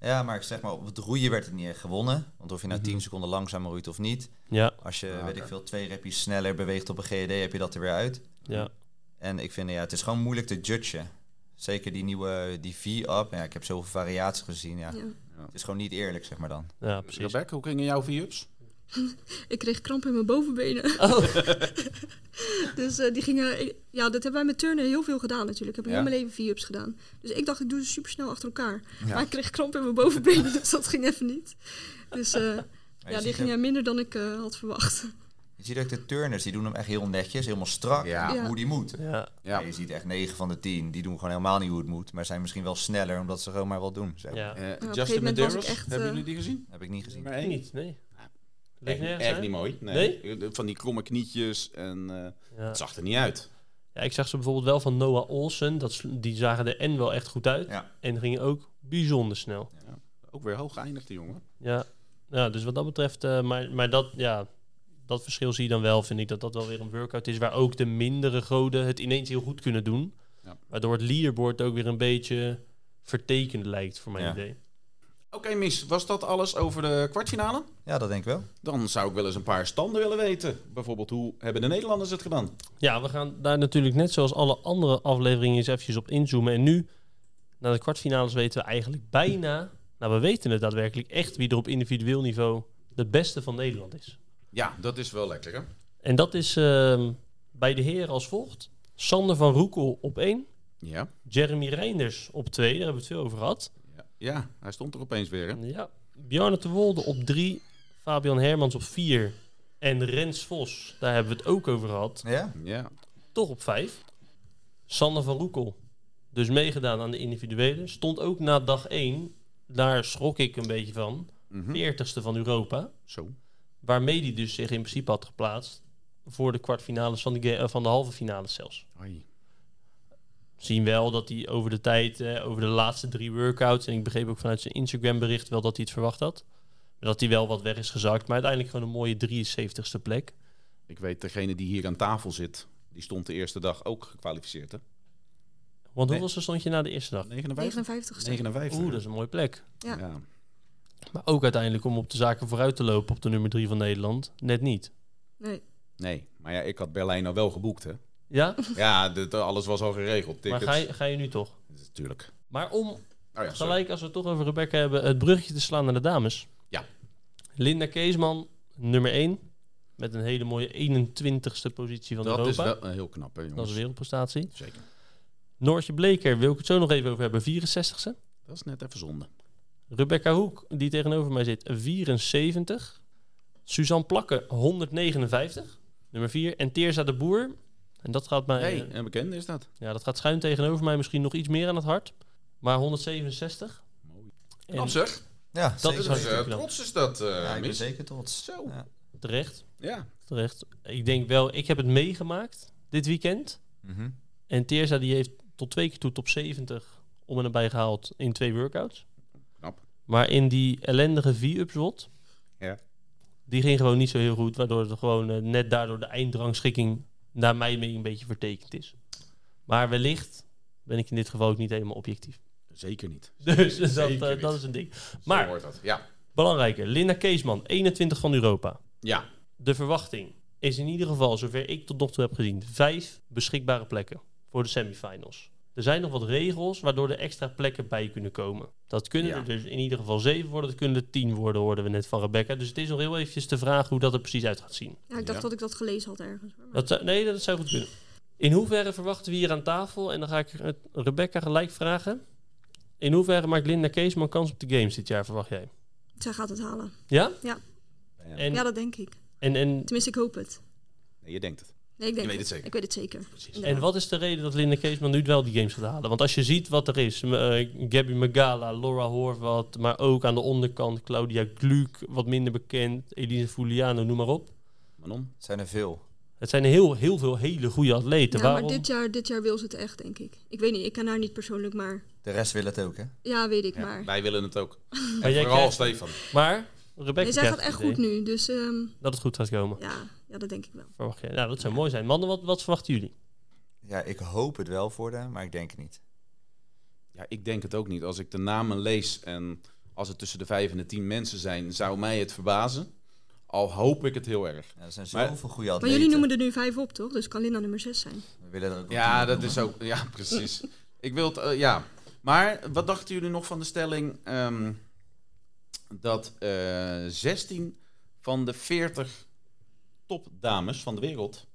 Ja, maar ik zeg maar, op het roeien werd het niet echt gewonnen. Want of je nou 10 seconden langzamer roeit of niet. Ja, Als je, Mhm. Ah, weet ik oké. veel, twee repjes sneller beweegt op een GED, heb je dat er weer uit. ja, En ik vind, ja, het is gewoon moeilijk te judgen. Zeker die nieuwe, die V-up. Ja, ik heb zoveel variaties gezien, ja. Ja. Het is gewoon niet eerlijk, zeg maar dan. ja, precies. Rebecca, hoe gingen jouw views? Ik kreeg kramp in mijn bovenbenen. dus eh, die gingen... ik- ja, dat hebben wij met turnen heel veel gedaan natuurlijk. Ik heb Ja. heel mijn leven vier-ups gedaan. Dus ik dacht, ik doe ze super snel achter elkaar. Maar ik kreeg kramp in mijn bovenbenen, dus dat ging even niet. Dus eh, Maar je ja, die ziet gingen ook- minder dan ik eh, had verwacht. Je ziet ook de turners, die doen hem echt heel netjes, helemaal strak. Ja. Ja. Hoe die moet. Ja, Ja. Ja. Je ziet echt 9 van de 10, die doen gewoon helemaal niet hoe het moet. Maar zijn misschien wel sneller, omdat ze gewoon maar wel doen. Zeg. ja. Eh, gegeven moment Justin was ik Medeiros, echt, hebben eh, jullie die gezien? Heb ik niet gezien. Maar Nee, één. niet, nee. Lijkt Echt, nergens, echt hè? niet mooi. Nee. Eh, Van die kromme knietjes en eh, Ja. het zag er niet uit. ja, ik zag ze bijvoorbeeld wel van Noah Olsen. Dat, sl- die zagen de N wel echt goed uit. Ja. En gingen ook bijzonder snel. Ook weer hoog geëindigd, die jongen. Ja, ja dus wat dat betreft, eh, maar, maar dat, ja, dat verschil zie je dan wel, vind ik, dat dat wel weer een workout is waar ook de mindere goden het ineens heel goed kunnen doen. Ja. Waardoor het leaderboard ook weer een beetje vertekend lijkt, voor mijn Ja. idee. Oké, Miss, was dat alles over de kwartfinale? Ja, dat denk ik wel. Dan zou ik wel eens een paar standen willen weten. Bijvoorbeeld, hoe hebben de Nederlanders het gedaan? Ja, we gaan daar natuurlijk net zoals alle andere afleveringen eens eventjes op inzoomen. En nu, na de kwartfinales, weten we eigenlijk bijna, nou we weten het daadwerkelijk echt, wie er op individueel niveau de beste van Nederland is. Ja, dat is wel lekker, hè? En dat is ehm, bij de heren als volgt. Sander van Roekel op 1. Ja. Jeremy Reinders op 2, daar hebben we het veel over gehad. ja. Ja, hij stond er opeens weer, hè? Ja. Bjarne de Wolde op 3, Fabian Hermans op 4 en Rens Vos, daar hebben we het ook over gehad, Ja? Ja. toch op 5. Sander van Roekel, dus meegedaan aan de individuele, stond ook na dag 1, daar schrok ik een beetje van, Mhm. 40ste van Europa, Zo. waarmee hij dus zich in principe had geplaatst voor de kwartfinales van de, ga- eh, van de halve finales zelfs. Hoi. zien wel dat hij over de tijd, eh, over de laatste drie workouts, en ik begreep ook vanuit zijn Instagram bericht wel dat hij het verwacht had. Maar Dat hij wel wat weg is gezakt, maar uiteindelijk gewoon een mooie 73ste plek. Ik weet, degene die hier aan tafel zit, die stond de eerste dag ook gekwalificeerd, hè? Want Nee. hoeveel stond je na de eerste dag? 59? 59 ste 59. Oeh, dat is een mooie plek. Ja. Ja. Maar ook uiteindelijk om op de zaken vooruit te lopen op de nummer 3 van Nederland. Net niet. Nee, Nee, maar ja, ik had Berlijn al wel geboekt, hè? Ja, Ja, dit, alles was al geregeld. maar ga Tickets. je, ga je nu toch? Natuurlijk. Maar om Oh ja, sorry. gelijk, als we het toch over Rebecca hebben, het bruggetje te slaan naar de dames. Ja. Linda Keesman, nummer 1. Met een hele mooie 21ste positie van dat is Europa. wel eh, heel knap, hè, jongens. dat is een wereldprestatie. Zeker. Noortje Bleker, wil ik het zo nog even over hebben, 64ste. Dat is net even zonde. Rebecca Hoek, die tegenover mij zit, 74. Suzanne Plakken, 159. Nummer 4. En Teerza de Boer. En dat gaat mij... hey, eh, een bekende is dat. Ja, dat gaat schuin tegenover mij misschien nog iets meer aan het hart. Maar 167. Mooi. En Knap zeg. Ja, Dat zeker. is, hartstikke eh, knap. trots is dat, eh, ja, ik ben mis. zeker trots. Zo. Ja. terecht, Ja. terecht. Ik denk wel, ik heb het meegemaakt dit weekend. Mhm. En Teerza die heeft tot twee keer toe top 70 om en nabij gehaald in twee workouts. Knap. Maar in die ellendige V-up zot, Ja. die ging gewoon niet zo heel goed. Waardoor het gewoon eh, net daardoor de eindrangschikking naar mij mee een beetje vertekend is. Maar wellicht ben ik in dit geval ook niet helemaal objectief. Zeker niet. Dus dat, Zeker eh, niet. dat is een ding. Zo Maar- hoort dat. Ja. Belangrijker, Linda Keesman, 21 van Europa. Ja. De verwachting is in ieder geval, zover ik tot nog toe heb gezien, vijf beschikbare plekken voor de semifinals. Er zijn nog wat regels waardoor er extra plekken bij kunnen komen. Dat kunnen Ja. er dus in ieder geval zeven worden, dat kunnen er tien worden, hoorden we net van Rebecca. Dus het is nog heel eventjes de vraag hoe dat er precies uit gaat zien. ja, ik dacht Ja. dat ik dat gelezen had ergens. hoor. Maar Dat zou- nee, dat zou goed kunnen. In hoeverre verwachten we hier aan tafel, en dan ga ik het Rebecca gelijk vragen, in hoeverre maakt Linda Keesman kans op de games dit jaar, verwacht jij? Zij gaat het halen. Ja? Ja. En, Ja, dat denk ik. en, en Tenminste, ik hoop het. Nee, je denkt het. Nee, ik denk Je weet het zeker. Ik weet het zeker. En wat is de reden dat Linda Keesman nu wel die games gaat halen? Want als je ziet wat er is, m- eh, Gabby Magala, Laura Horvath, maar ook aan de onderkant Claudia Gluck, wat minder bekend, Elise Fuliano, noem maar op. Manon? Het zijn er veel. Het zijn heel, heel veel hele goede atleten. Ja, maar Waarom? dit jaar, dit jaar wil ze het echt, denk ik. Ik weet niet, ik ken haar niet persoonlijk, maar... De rest wil het ook, hè? Ja, weet ik Ja, maar. Wij willen het ook. Maar En jij vooral krijgt- Stefan. maar Rebecca Nee, zij krijgt gaat het echt idee goed nu, dus ehm, Dat het goed gaat komen. ja, ja, dat denk ik wel. Verwacht je? Nou, dat zou mooi zijn. Mannen, wat, wat verwachten jullie? Ja, ik hoop het wel voor hem, maar ik denk het niet. Ja, ik denk het ook niet. Als ik de namen lees en als het tussen de vijf en de tien mensen zijn, zou mij het verbazen. Al hoop ik het heel erg. Ja, er zijn Maar- zoveel goede atleten. Maar jullie noemen er nu vijf op, toch? Dus kan Linda nummer zes zijn. We willen er ook Ja, tien dat noemen. is ook. Ja, precies. ik wil het. eh, ja. Maar wat dachten jullie nog van de stelling ehm, dat eh 16 van de 40 topdames van de wereld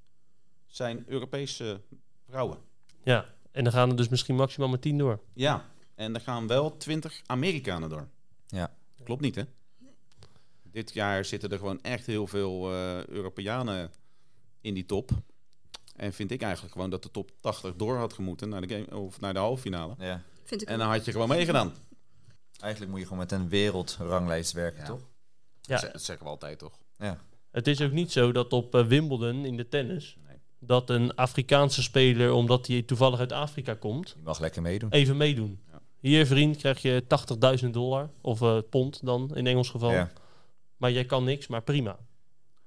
zijn Europese vrouwen? Ja, en dan gaan er dus misschien maximaal maar tien door. Ja, en er gaan wel 20 Amerikanen door. Ja. Klopt niet, hè? Dit jaar zitten er gewoon echt heel veel eh, Europeanen in die top. En vind ik eigenlijk gewoon dat de top 80 door had gemoeten naar de, game, of naar de halve finale. Ja, Vind ik En wel. dan had je gewoon meegedaan. eigenlijk moet je gewoon met een wereldranglijst werken, Ja. toch? Ja, Dat zeggen we altijd, toch? Ja. Het is ook niet zo dat op eh, Wimbledon in de tennis, Nee. dat een Afrikaanse speler, omdat hij toevallig uit Afrika komt, Je mag lekker meedoen. even meedoen. Ja. Hier, vriend, krijg je 80.000 dollar. Of eh, pond dan, in Engels geval. Ja. Maar jij kan niks, maar prima.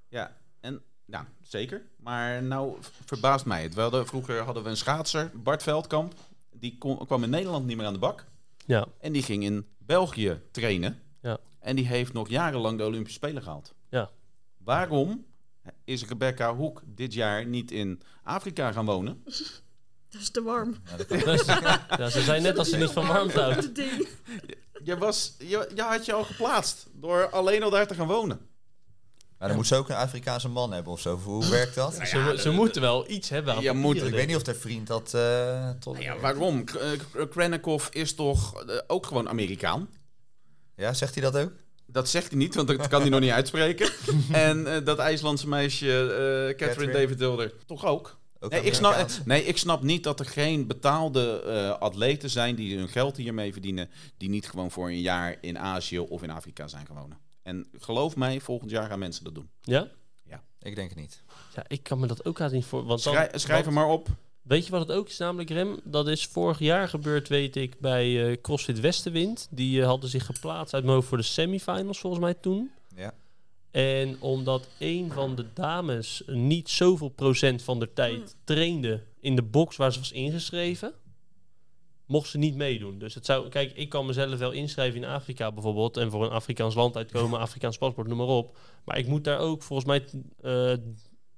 Ja, en ja, zeker. Maar nou verbaast mij het. We hadden, vroeger hadden we een schaatser, Bart Veldkamp. Die kon- kwam in Nederland niet meer aan de bak. Ja, En die ging in België trainen. Ja. En die heeft nog jarenlang de Olympische Spelen gehaald. Ja. Waarom is Rebecca Hoek dit jaar niet in Afrika gaan wonen? Dat is te warm. Dus- ja ze zijn net als ze niet van warmte houdt. Dat ding. Je, was, je, je had je al geplaatst door alleen al daar te gaan wonen. Maar dan moet ze ook een Afrikaanse man hebben of zo. Hoe werkt dat? Ze, mo- ze moeten wel iets hebben aan Je moet- papieren, Ik denk weet niet of de vriend dat... eh, tot... Nou Ja, waarom? K- eh, K- Krennikov is toch eh, ook gewoon Amerikaan? Ja, zegt hij dat ook? Dat zegt hij niet, want dat kan hij nog niet uitspreken. En eh, dat IJslandse meisje, eh, Catherine Catherine. David Hilder, toch ook? ook Nee ik, snap, Amerikaans? nee, ik snap niet dat er geen betaalde eh, atleten zijn die hun geld hiermee verdienen, die niet gewoon voor een jaar in Azië of in Afrika zijn gaan wonen. En geloof mij, volgend jaar gaan mensen dat doen. Ja? Ik denk het niet. ja, ik kan me dat ook haast niet voor. Want dan- Schrij- schrijf hem want- maar op. Weet je wat het ook is, namelijk Rem? Dat is vorig jaar gebeurd, weet ik, bij eh, CrossFit Westenwind. Die eh, hadden zich geplaatst uit mijn hoofd voor de semifinals, volgens mij toen. Ja. En omdat een van de dames niet zoveel procent van de tijd trainde in de box waar ze was ingeschreven, mocht ze niet meedoen. Dus het zou, kijk, ik kan mezelf wel inschrijven in Afrika bijvoorbeeld en voor een Afrikaans land uitkomen, Afrikaans paspoort, noem maar op. Maar ik moet daar ook volgens mij eh, Ja,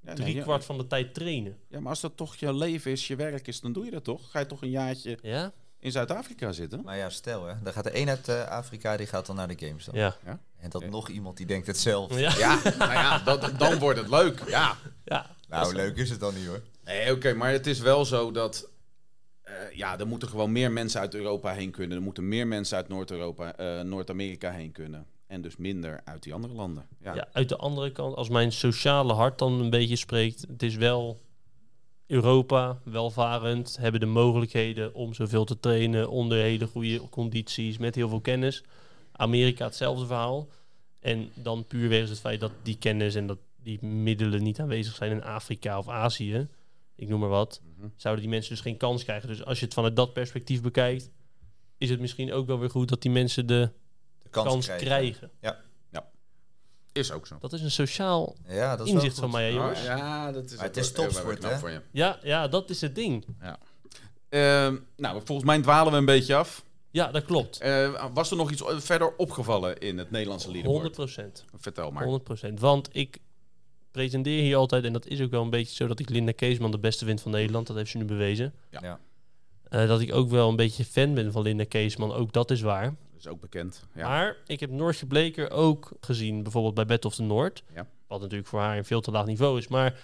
nee, drie ja, kwart van de tijd trainen. ja, maar als dat toch je leven is, je werk is, dan doe je dat toch? Ga je toch een jaartje Ja? in Zuid-Afrika zitten? Maar ja, stel hè, dan gaat de een uit eh, Afrika, die gaat dan naar de games dan. Ja. En dat Ja. nog iemand die denkt hetzelfde. Ja. Ja, nou ja, dat, dan wordt het leuk. Ja. ja. Nou, leuk is het dan niet hoor. Nee, oké, maar het is wel zo dat. eh, ja, er moeten gewoon meer mensen uit Europa heen kunnen. Er moeten meer mensen uit Noord-Europa, eh, Noord-Amerika heen kunnen. En dus minder uit die andere landen. Ja. Ja, uit de andere kant, als mijn sociale hart dan een beetje spreekt, het is wel Europa, welvarend, hebben de mogelijkheden om zoveel te trainen, onder hele goede condities, met heel veel kennis. Amerika hetzelfde verhaal. En dan puur wegens het feit dat die kennis en dat die middelen niet aanwezig zijn in Afrika of Azië, ik noem maar wat, Mhm. zouden die mensen dus geen kans krijgen. Dus als je het vanuit dat perspectief bekijkt, is het misschien ook wel weer goed dat die mensen de De kans, krijgen. Is ook zo. Dat is een sociaal Ja, dat is wel inzicht goed. van mij, hè, jongens. Ah, ja, dat is Maar het ook is wel- heel erg topsport, knap hè? Voor je. Ja, ja, dat is het ding. Ehm, nou, volgens mij dwalen we een beetje af. Ja, dat klopt. 100%. Eh, was er nog iets o- verder opgevallen in het Nederlandse leaderboard? 100%. Vertel maar. Want ik pretendeer hier altijd, en dat is ook wel een beetje zo, dat ik Linda Keesman de beste vind van Nederland. Dat heeft ze nu bewezen. Ja. Ja. Eh, dat ik ook wel een beetje fan ben van Linda Keesman, ook dat is waar. Dat is ook bekend. Ja. Maar ik heb Noortje Bleker ook gezien, bijvoorbeeld bij Battle of the Noord. Ja. Wat natuurlijk voor haar een veel te laag niveau is. Maar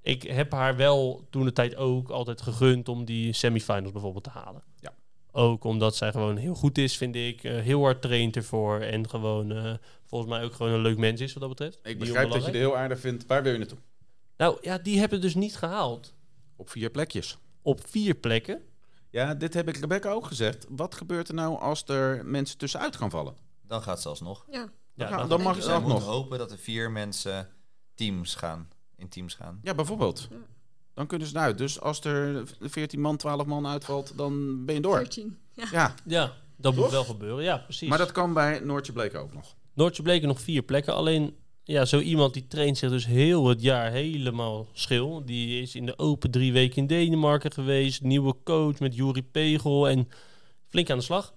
ik heb haar wel toen de tijd ook altijd gegund om die semifinals bijvoorbeeld te halen. Ja. Ook omdat zij gewoon heel goed is, vind ik. eh, heel hard traint ervoor. En gewoon, eh, volgens mij ook gewoon een leuk mens is wat dat betreft. ik Niet begrijp dat je onbelangrijk. het heel aardig vindt. Waar wil je naartoe? Nou ja, die hebben het dus niet gehaald. Op vier plekjes. Op vier plekken. Ja, dit heb ik Rebecca ook gezegd. Wat gebeurt er nou als er mensen tussenuit gaan vallen? Dan gaat ze alsnog. Ja, Ja, dan, dan- dan mag Zij ze Ze ook moeten nog. hopen dat er vier mensen teams gaan. In teams gaan. Ja, bijvoorbeeld. Ja. Dan kunnen ze eruit. Dus als er 14 man, 12 man uitvalt, dan ben je door. 13. Ja. Ja, Ja, dat Toch? moet wel gebeuren. Ja, precies. maar dat kan bij Noortje Bleek ook nog. Noortje bleken nog vier plekken. Alleen, ja, zo iemand die traint zich dus heel het jaar helemaal schil. Die is in de open drie weken in Denemarken geweest. Nieuwe coach met Juri Pegel en flink aan de slag.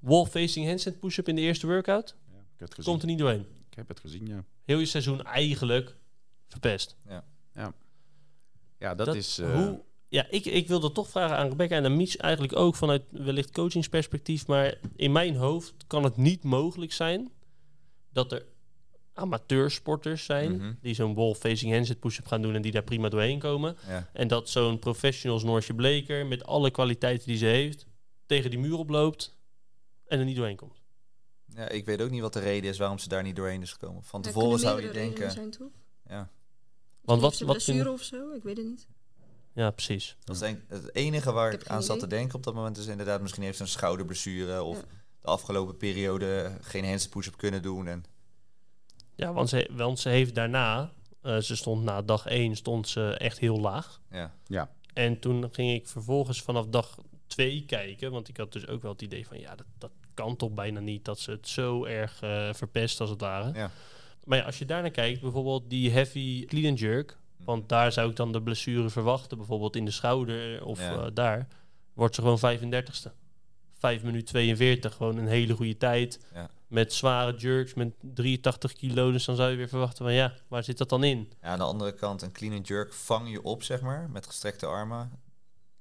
Wall facing handstand push-up in de eerste workout. Ja, ik, heb het gezien. Komt er niet doorheen. ik heb het gezien, ja. Heel je seizoen eigenlijk verpest. Ja, dat, Dat- is... eh, hoe- Ja, ik, ik wil dat toch vragen aan Rebecca en aan Mies eigenlijk ook vanuit wellicht coachingsperspectief. Maar in mijn hoofd kan het niet mogelijk zijn dat er amateursporters zijn Mhm. die zo'n wall facing handset push-up gaan doen en die daar prima doorheen komen. Ja. En dat zo'n professionals Noortje Bleker met alle kwaliteiten die ze heeft tegen die muur oploopt en er niet doorheen komt. ja, ik weet ook niet wat de reden is waarom ze daar niet doorheen is gekomen. Van Ja, tevoren kunnen zou je meerdere redenen denken. Zijn, toch? Ja. Want wat, Heeft ze wat blessure kun- of zo? Ik weet het niet. Ja, precies. Dat is denk- het enige waar Ik ik heb aan geen zat te idee. denken op dat moment is inderdaad misschien heeft ze een schouderblessure of Ja. de afgelopen periode geen handstand push-up kunnen doen. En Ja, want ze, want ze heeft daarna, eh, ze stond na dag 1 stond ze echt heel laag. ja, En toen ging ik vervolgens vanaf dag twee kijken. Want ik had dus ook wel het idee van... ja, dat, dat kan toch bijna niet dat ze het zo erg eh, verpest als het ware. Ja. Maar ja, als je daarnaar kijkt, bijvoorbeeld die heavy clean and jerk... Mhm. want daar zou ik dan de blessure verwachten. Bijvoorbeeld in de schouder of Ja. eh, daar. Wordt ze gewoon 35ste. 5 minuut 42, gewoon een hele goede tijd. Ja. Met zware jerks, met 83 kilo. Dus dan zou je weer verwachten van ja, waar zit dat dan in? Ja, aan de andere kant, een clean and jerk vang je op, zeg maar, met gestrekte armen.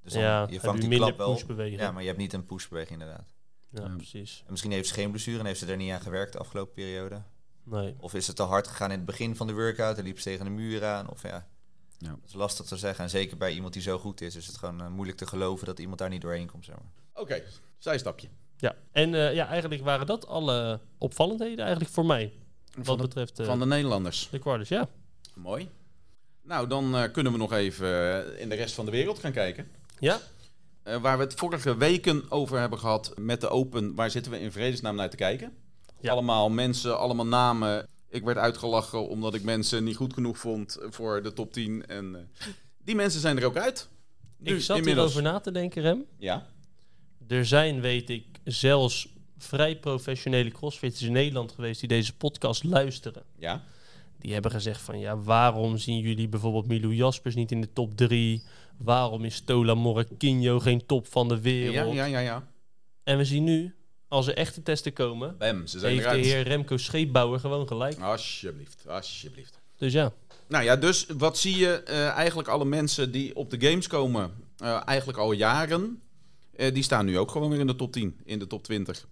Dus dan, ja, je heb vangt die minder klap wel. pushbeweging. Ja, maar je hebt niet een pushbeweging inderdaad. ja, Ja. precies. En misschien heeft ze geen blessure en heeft ze er niet aan gewerkt de afgelopen periode. Nee. Of is het te hard gegaan in het begin van de workout en liep ze tegen de muur aan. Of ja, Ja. dat is lastig te zeggen. En zeker bij iemand die zo goed is, is het gewoon eh, moeilijk te geloven dat iemand daar niet doorheen komt, zeg maar. Oké, zijstapje. Ja, en eh, ja, eigenlijk waren dat alle opvallendheden eigenlijk voor mij. Wat Van de, betreft eh, van de Nederlanders. de quarters, ja. Mooi. Nou, dan eh, kunnen we nog even eh, in de rest van de wereld gaan kijken. Ja, Eh, waar we het vorige weken over hebben gehad met de Open. Waar zitten we in vredesnaam naar te kijken? Ja. Allemaal mensen, allemaal namen. Ik werd uitgelachen omdat ik mensen niet goed genoeg vond voor de top 10. En eh, die mensen zijn er ook uit. Nu, ik zat inmiddels. hierover na te denken, Rem. Ja, Er zijn, weet ik, zelfs vrij professionele crossfitters in Nederland geweest die deze podcast luisteren. ja. Die hebben gezegd van ja, waarom zien jullie bijvoorbeeld Milou Jaspers niet in de top 3? Waarom is Tola Morquinho geen top van de Ja, wereld? ja, ja, ja. En we zien nu, als er echte testen komen, Bam, ze zijn heeft de eruit. heer Remco Scheepbouwer gewoon gelijk. Alsjeblieft, alsjeblieft. Dus ja, Nou ja, dus wat zie je eh, eigenlijk alle mensen die op de games komen, eh, eigenlijk al jaren, eh, die staan nu ook gewoon weer in de top 10, in de top 20.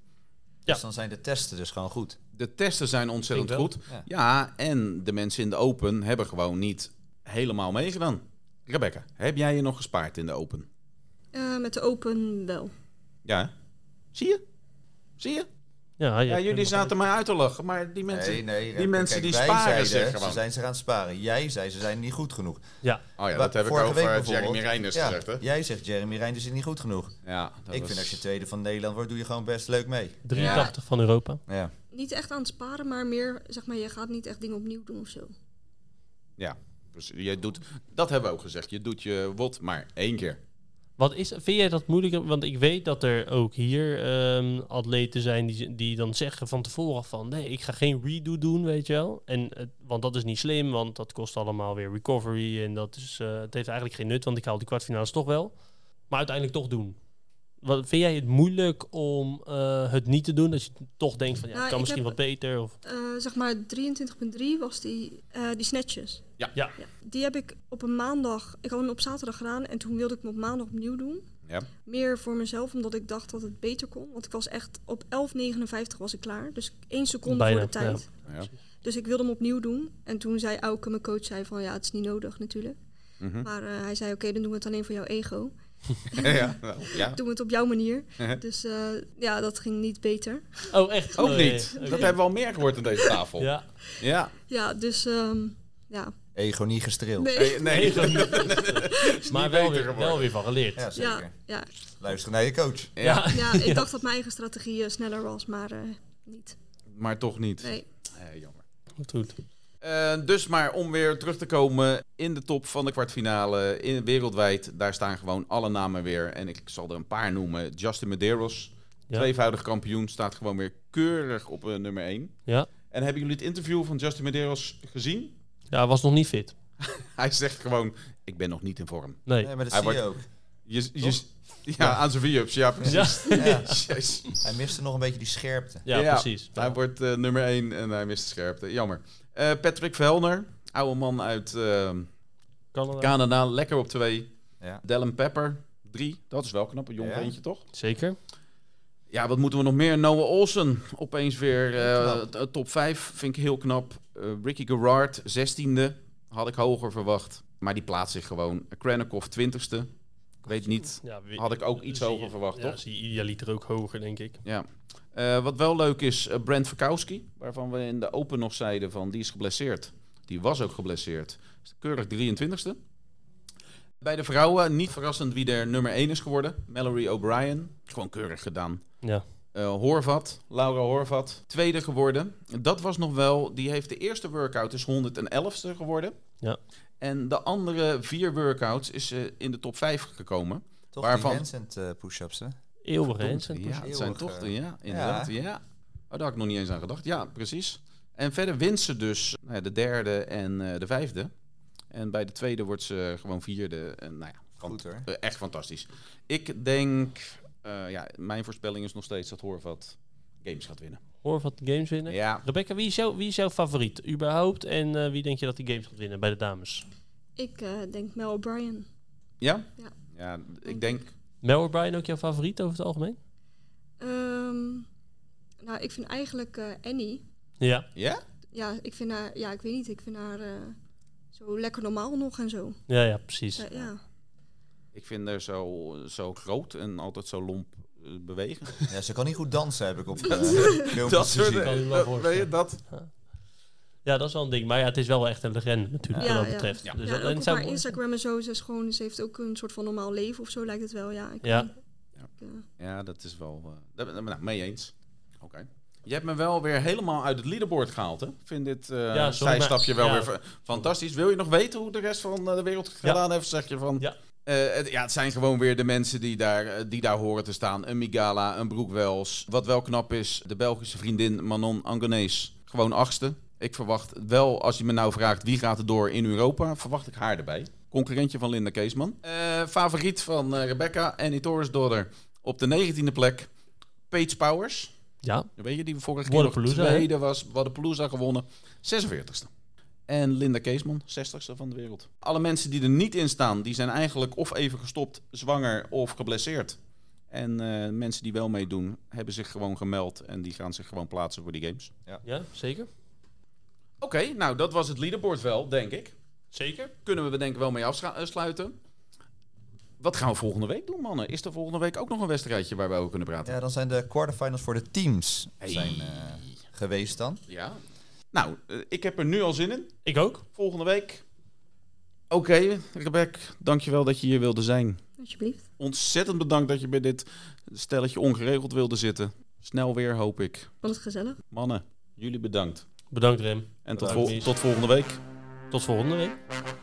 Ja. Dus dan zijn de testen dus gewoon goed. De testen zijn ontzettend Ik wel. goed. Ja. en de mensen in de Open hebben gewoon niet helemaal meegedaan. Rebecca, heb jij je nog gespaard in de Open? Eh, met de open wel. Ja. hè? Zie je? Zie je? ja, Ja, jullie zaten mij uit te lachen, maar die mensen nee, nee. die, Remco, mensen kijk, die wij sparen zich zeiden, gewoon. Ze zijn zich aan het sparen. Jij zei ze zijn niet goed genoeg. Ja, Oh ja, Wa- dat heb ik vorige week over bijvoorbeeld. Jeremy Reinders Ja, gezegd, hè? Jij zegt Jeremy Reinders is niet goed genoeg. Ja, dat ik was- vind als je tweede van Nederland wordt, doe je gewoon best leuk mee. 83 van Europa. Ja. Niet echt aan het sparen, maar meer, zeg maar, je gaat niet echt dingen opnieuw doen of zo. Ja, dus je doet, dat hebben we ook gezegd. Je doet je wot maar één keer. Wat is, vind jij dat moeilijker? Want ik weet dat er ook hier ehm, atleten zijn die, die dan zeggen van tevoren van... nee, ik ga geen redo doen, weet je wel. En, het- want dat is niet slim, want dat kost allemaal weer recovery... en dat is, eh, het heeft eigenlijk geen nut, want ik haal die kwartfinales toch wel. Maar uiteindelijk toch doen. Wat, vind jij het moeilijk om eh, het niet te doen? Dat je toch denkt van, ja, Nou, het kan ik misschien heb- wat beter. Of, Eh, zeg maar 23.3 was die, eh, die snatches. ja, Ja. Die heb ik op een maandag, ik had hem op zaterdag gedaan en toen wilde ik hem op maandag opnieuw doen. Ja. Meer voor mezelf, omdat ik dacht dat het beter kon. Want ik was echt op 11.59 was ik klaar. Dus één seconde Bijna, voor de tijd. ja. Dus ik wilde hem opnieuw doen. En toen zei Auke, mijn coach, zei van ja, het is niet nodig natuurlijk. Mhm. Maar eh, hij zei oké, dan doen we het alleen voor jouw ego. ja, wel, ja. Doen we het op jouw manier. Dus eh, ja, dat ging niet beter. Oh, echt? Ook Oh, nee. niet. Oké. Dat hebben we al meer gehoord aan deze tafel. Ja. Ja, Ja, dus ehm, ja. Ego niet gestreeld. Nee. Nee, nee. Ego niet. maar wel beter weer, wel geworden. weer van geleerd. Ja, zeker. Ja, ja, Luister naar je coach. Ja, ja, ik dacht dat mijn eigen strategie eh, sneller was, maar eh, niet. maar toch niet. Nee. Eh, jammer. Goed. Eh, dus maar om weer terug te komen in de top van de kwartfinale in, wereldwijd. Daar staan gewoon alle namen weer. En ik zal er een paar noemen. Justin Medeiros, Ja. tweevoudig kampioen, staat gewoon weer keurig op eh, nummer 1. Ja. En hebben jullie het interview van Justin Medeiros gezien? ja, hij was nog niet fit. Hij zegt gewoon, ik ben nog niet in vorm. Nee. Nee, maar dat Hij zie je wordt- ook. Je, je, ja, aan zijn V-ups, ja Ja, precies. Ja. Jezus. Hij miste nog een beetje die scherpte. ja, precies. Hij wordt eh, nummer 1 en hij mist de scherpte. Jammer. Eh, Patrick Velner, oude man uit eh, Canada. Canada, lekker op 2. Ja. Dallin Pepper, 3. Dat is wel knap, een jong Ja. eentje toch? Zeker. Ja, wat moeten we nog meer? Noah Olsen, opeens weer eh, Knap. t- top 5, vind ik heel knap. Eh, Ricky Gerard, 16e, had ik hoger verwacht. Maar die plaatst zich gewoon. Krennikov, 20ste. Ik weet niet. Ja, we- Had ik ook iets zie je- hoger verwacht, ja, toch? zie je idealiter ook hoger, denk ik. Ja. Eh, wat wel leuk is, eh, Brent Verkowski, waarvan we in de Open nog zeiden van die is geblesseerd. Die was ook geblesseerd. Is Keurig 23ste. Bij de vrouwen, niet verrassend wie er nummer 1 is geworden. Mallory O'Brien, gewoon keurig gedaan. Ja. Eh, Horvat, Laura Horvat, tweede geworden. Dat was nog wel, die heeft de eerste workout is 111ste geworden. Ja. En de andere vier workouts is ze in de top 5 gekomen. Toch Waarvan? die Vincent eh, push-ups, hè? Eeuwig Verdomd, eens. Ja, het zijn toch de, Eeuwig, ja, inderdaad. Ja. Oh, daar had ik nog niet eens aan gedacht. Ja, precies. En verder wint ze dus nou ja, de derde en eh, de vijfde. En bij de tweede wordt ze gewoon vierde. En, nou ja, Goed, hoor. eh, echt fantastisch. Ik denk, eh, ja, mijn voorspelling is nog steeds dat Horvat games gaat winnen. Hoor wat de games winnen. Ja, Rebecca, wie is, jou, wie is jouw favoriet überhaupt? En eh, wie denk je dat die games gaat winnen bij de dames? Ik eh, denk Mel O'Brien. ja? Ja. Ja, ik denk, Mel O'Brien ook jouw favoriet over het algemeen? Ehm, nou, ik vind eigenlijk eh, Annie. Ja, ja? Ja, ik vind haar, ja, ik weet niet, ik vind haar eh, zo lekker normaal nog en zo. ja, ja precies. Zij- ja. Ik vind haar zo, zo groot en altijd zo lomp eh, bewegen. Ja, ze kan niet goed dansen, heb ik op eh, dat filmpjes soort gezien. kan ik me wel dat- voorstellen. Eh, weet je, dat, Ja, dat is wel een ding. Maar ja, het is wel echt een legende natuurlijk, Ja, wat dat ja. betreft. Ja. Dus ja, dat, en ook en op zou- haar Instagram en zo, ze, is gewoon, ze heeft ook een soort van normaal leven of zo lijkt het wel, ja. Ik Ja. weet niet. Ik, eh, Ja, dat is wel. eh, daar ben ik nou, mee eens. Oké. Je hebt me wel weer helemaal uit het leaderboard gehaald. Hè? Ik vind dit eh Ja, sorry, zijstapje maar- wel ja. weer fa- fantastisch. Wil je nog weten hoe de rest van eh, de wereld het gedaan heeft? Zeg je van. Ja. Eh, het, ja, het zijn gewoon weer de mensen die daar, eh, die daar horen te staan. Een Migala, een Broekwels. Wat wel knap is, de Belgische vriendin Manon Angonees. Gewoon achtste. Ik verwacht wel, als je me nou vraagt wie gaat er door in Europa, verwacht ik haar erbij. Concurrentje van Linda Keesman. Eh, favoriet van eh, Rebecca, Annie Torres Dodder. Op de 19e plek, Paige Powers. Ja, Weet je, die vorige keer nog Wadapalooza, hè? tweede was. Wadapalooza gewonnen. 46ste. En Linda Keesman, 60ste van de wereld. Alle mensen die er niet in staan, die zijn eigenlijk of even gestopt, zwanger of geblesseerd. En eh, mensen die wel meedoen, hebben zich gewoon gemeld en die gaan zich gewoon plaatsen voor die games. ja zeker. Oké, nou dat was het leaderboard wel, denk ik. Zeker. Kunnen we denk ik wel mee afsluiten. Wat gaan we volgende week doen, mannen? Is er volgende week ook nog een wedstrijdje waar we over kunnen praten? Ja, dan zijn de quarterfinals voor de teams Hey. zijn, eh, geweest dan. Ja. Nou, eh, ik heb er nu al zin in. Ik ook. Volgende week. Oké, Rebecca, dankjewel dat je hier wilde zijn. Alsjeblieft. Ontzettend bedankt dat je bij dit stelletje ongeregeld wilde zitten. Snel weer, hoop ik. Vond het gezellig. Mannen, jullie bedankt. Bedankt Rem. En tot, Bedankt, vol- Mies. tot volgende week. Tot volgende week.